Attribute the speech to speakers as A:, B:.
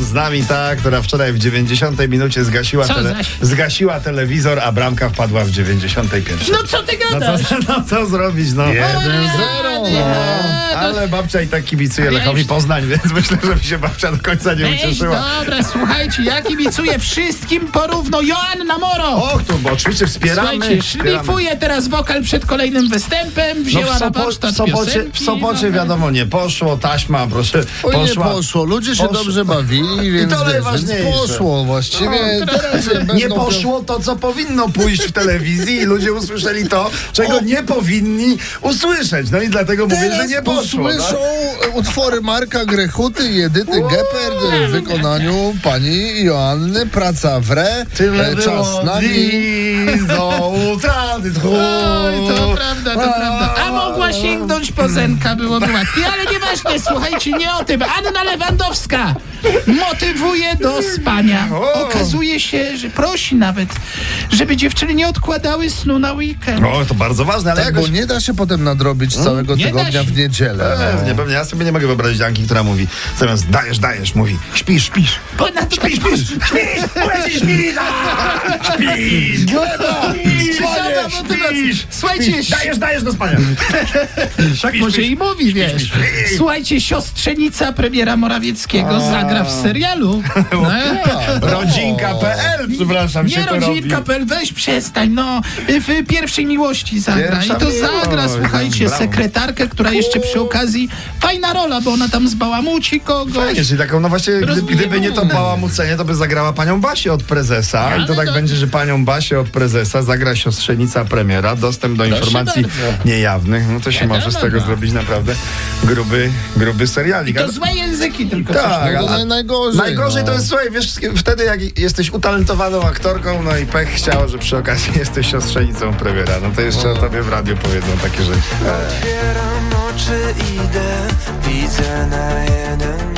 A: z nami ta, która wczoraj w 90 minucie zgasiła,
B: Co
A: tele,
B: zaś?
A: zgasiła telewizor, a bramka wpadła w 91.
B: No co ty
A: No
B: gadasz?
A: co, no co zrobić, no.
B: Jeden zero,
A: No,
B: no.
A: ale babcia i tak kibicuje
B: Ale ja
A: Lechowi
B: już-
A: Poznań, więc myślę, że mi się babcia do końca nie
B: Ej,
A: ucieszyła.
B: dobra, słuchajcie, ja kibicuję wszystkim porówno. Joanna Moro!
A: Och, tu, bo oczywiście wspieramy.
B: no. Słuchajcie,
A: wspieramy.
B: szlifuje teraz wokal przed kolejnym występem,
A: No
B: wzięła na
A: Sopo-
B: warsztat
A: w sobocie,
B: piosenki,
A: w sobocie
B: no.
A: wiadomo, nie poszło, taśma, proszę,
C: Oj, nie
A: poszła.
C: poszło, ludzie się
A: Poszło.
C: dobrze bawili, więc,
A: to
C: wiesz,
A: najważniejsze.
C: więc poszło właściwie. teraz
A: Nie
C: będą
A: poszło to, co powinno pójść w telewizji i ludzie usłyszeli to, czego nie powinni usłyszeć. No i dlatego mówię, że
C: Teraz
A: nie poszło.
C: posłyszą
A: No.
C: e, utwory Marka Grechuty i Edyty Geppert e, w wykonaniu pani Joanny Praca Wre.
A: Tyle
C: E,
A: było
C: Czas na nami.
A: dni do utraty tchu.
B: Oj, to prawda, to prawda. A mogła sięgnąć po Zenka, byłoby łatwiej. Ale nieważne, słuchajcie, nie o tym. Anna Lewandowska motywuje do spania. Okazuje się, że prosi nawet, żeby dziewczyny nie odkładały snu na weekend.
A: O, No, to bardzo ważne, ale
C: Tak, bo
A: jakoś...
C: nie da się potem nadrobić całego
A: Hmm,
B: Nie da
C: tygodnia
B: się.
C: w niedzielę.
A: Pewnie, pewnie. Ja sobie nie mogę wyobrazić Anki, która mówi zamiast dajesz, dajesz, mówi śpisz, śpisz.
B: Ponadto tak
A: Śpisz! Gleba!
B: Sama motywacja. Słuchajcie,
A: Dajesz, dajesz do spania.
B: tak może i mówi, wiesz. Słuchajcie, siostrzenica premiera Morawieckiego zagra w serialu. No.
A: Rodzinka.pl, przepraszam, tak, się
B: Nie
A: to robi.
B: rodzinka.pl, weź przestań, no. W pierwszej miłości zagra.
A: Pierwsza
B: I to
A: miłość.
B: zagra, słuchajcie,
A: Brawo.
B: sekretarkę, która jeszcze przy okazji fajna rola, bo ona tam zbałamuci kogoś.
A: Fajnie, czyli taką, no właśnie, gdy,
B: Rozumiem.
A: gdyby nie to bałamucenie, to by zagrała panią Basię od prezesa. I to
B: Ale
A: tak
B: to-
A: będzie, że panią Basię od prezesa zagra siostrzenica premiera. Dostęp do informacji
B: bardzo.
A: niejawnych. No to się może z
B: no,
A: tego
B: no.
A: zrobić naprawdę gruby, gruby serialik.
B: To
A: Ale-
B: złe języki tylko. coś.
A: Tak,
C: No to
A: a-
C: naj- najgorzej,
A: Najgorzej
C: no.
A: to jest, słuchaj, wiesz, wtedy jak jesteś utalentowaną aktorką, no i pech chciał, że przy okazji jesteś siostrzenicą premiera. No to jeszcze o tobie w radiu powiedzą takie rzeczy.
D: Otwieram oczy, idę, widzę na jeden